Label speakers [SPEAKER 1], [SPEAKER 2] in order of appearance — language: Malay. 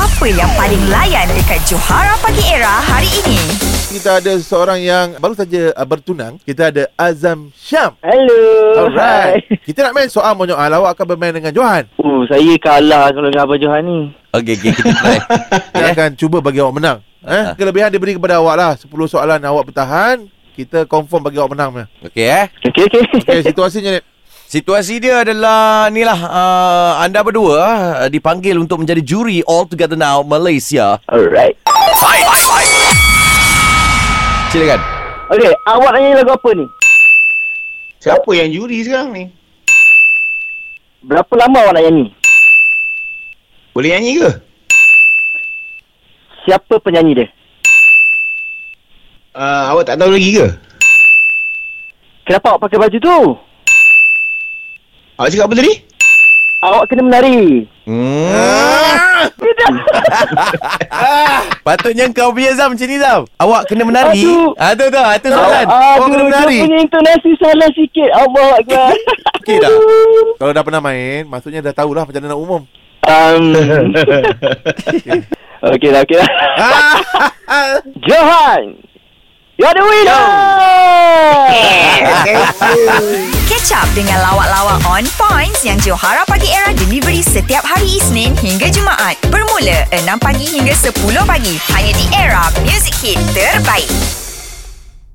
[SPEAKER 1] Apa yang paling layan dekat Johara Pagi Era hari ini?
[SPEAKER 2] Kita ada seorang yang baru saja uh, bertunang. Kita ada Azam Syam.
[SPEAKER 3] Hello.
[SPEAKER 2] Alright. Kita nak main soal menyoal. Awak akan bermain dengan Johan.
[SPEAKER 3] Hai. Oh, saya kalah kalau dengan Abang Johan ni.
[SPEAKER 4] Okey, okay, kita try. Eh,
[SPEAKER 2] Kita akan cuba bagi awak menang. Eh,
[SPEAKER 4] Ah.
[SPEAKER 2] kelebihan diberi kepada awak lah. 10 soalan awak bertahan. Kita confirm bagi awak menang.
[SPEAKER 4] Okey eh.
[SPEAKER 3] Okey, okey.
[SPEAKER 2] Okey, situasinya ni.
[SPEAKER 4] Situasi dia adalah ni lah uh, anda berdua uh, dipanggil untuk menjadi juri All Together Now Malaysia.
[SPEAKER 3] Alright.
[SPEAKER 4] Silakan.
[SPEAKER 3] Okey, awak nak nyanyi lagu apa ni?
[SPEAKER 5] Siapa yang juri sekarang ni?
[SPEAKER 3] Berapa lama awak nak nyanyi?
[SPEAKER 5] Boleh nyanyi ke?
[SPEAKER 3] Siapa penyanyi dia?
[SPEAKER 5] Uh, awak tak tahu lagi ke?
[SPEAKER 3] Kenapa awak pakai baju tu?
[SPEAKER 5] Awak cakap apa tadi?
[SPEAKER 3] Awak kena menari.
[SPEAKER 4] Hmm.
[SPEAKER 3] Ah.
[SPEAKER 4] Patutnya kau punya Zam macam ni Zam. Awak kena menari.
[SPEAKER 3] Aduh.
[SPEAKER 4] Ah tu tu, ah, tu soalan.
[SPEAKER 2] awak kena menari.
[SPEAKER 3] Dia punya intonasi salah sikit. kan. Allah Akbar.
[SPEAKER 2] Okey dah. Kalau dah pernah main, maksudnya dah tahulah macam mana nak umum.
[SPEAKER 3] um, lah, okey dah, okey dah.
[SPEAKER 2] Ah.
[SPEAKER 3] Johan, you're the winner!
[SPEAKER 1] Catch up dengan lawak-lawak on points yang Johara Pagi Era delivery setiap hari Isnin hingga Jumaat. Bermula 6 pagi hingga 10 pagi. Hanya di Era Music Hit Terbaik.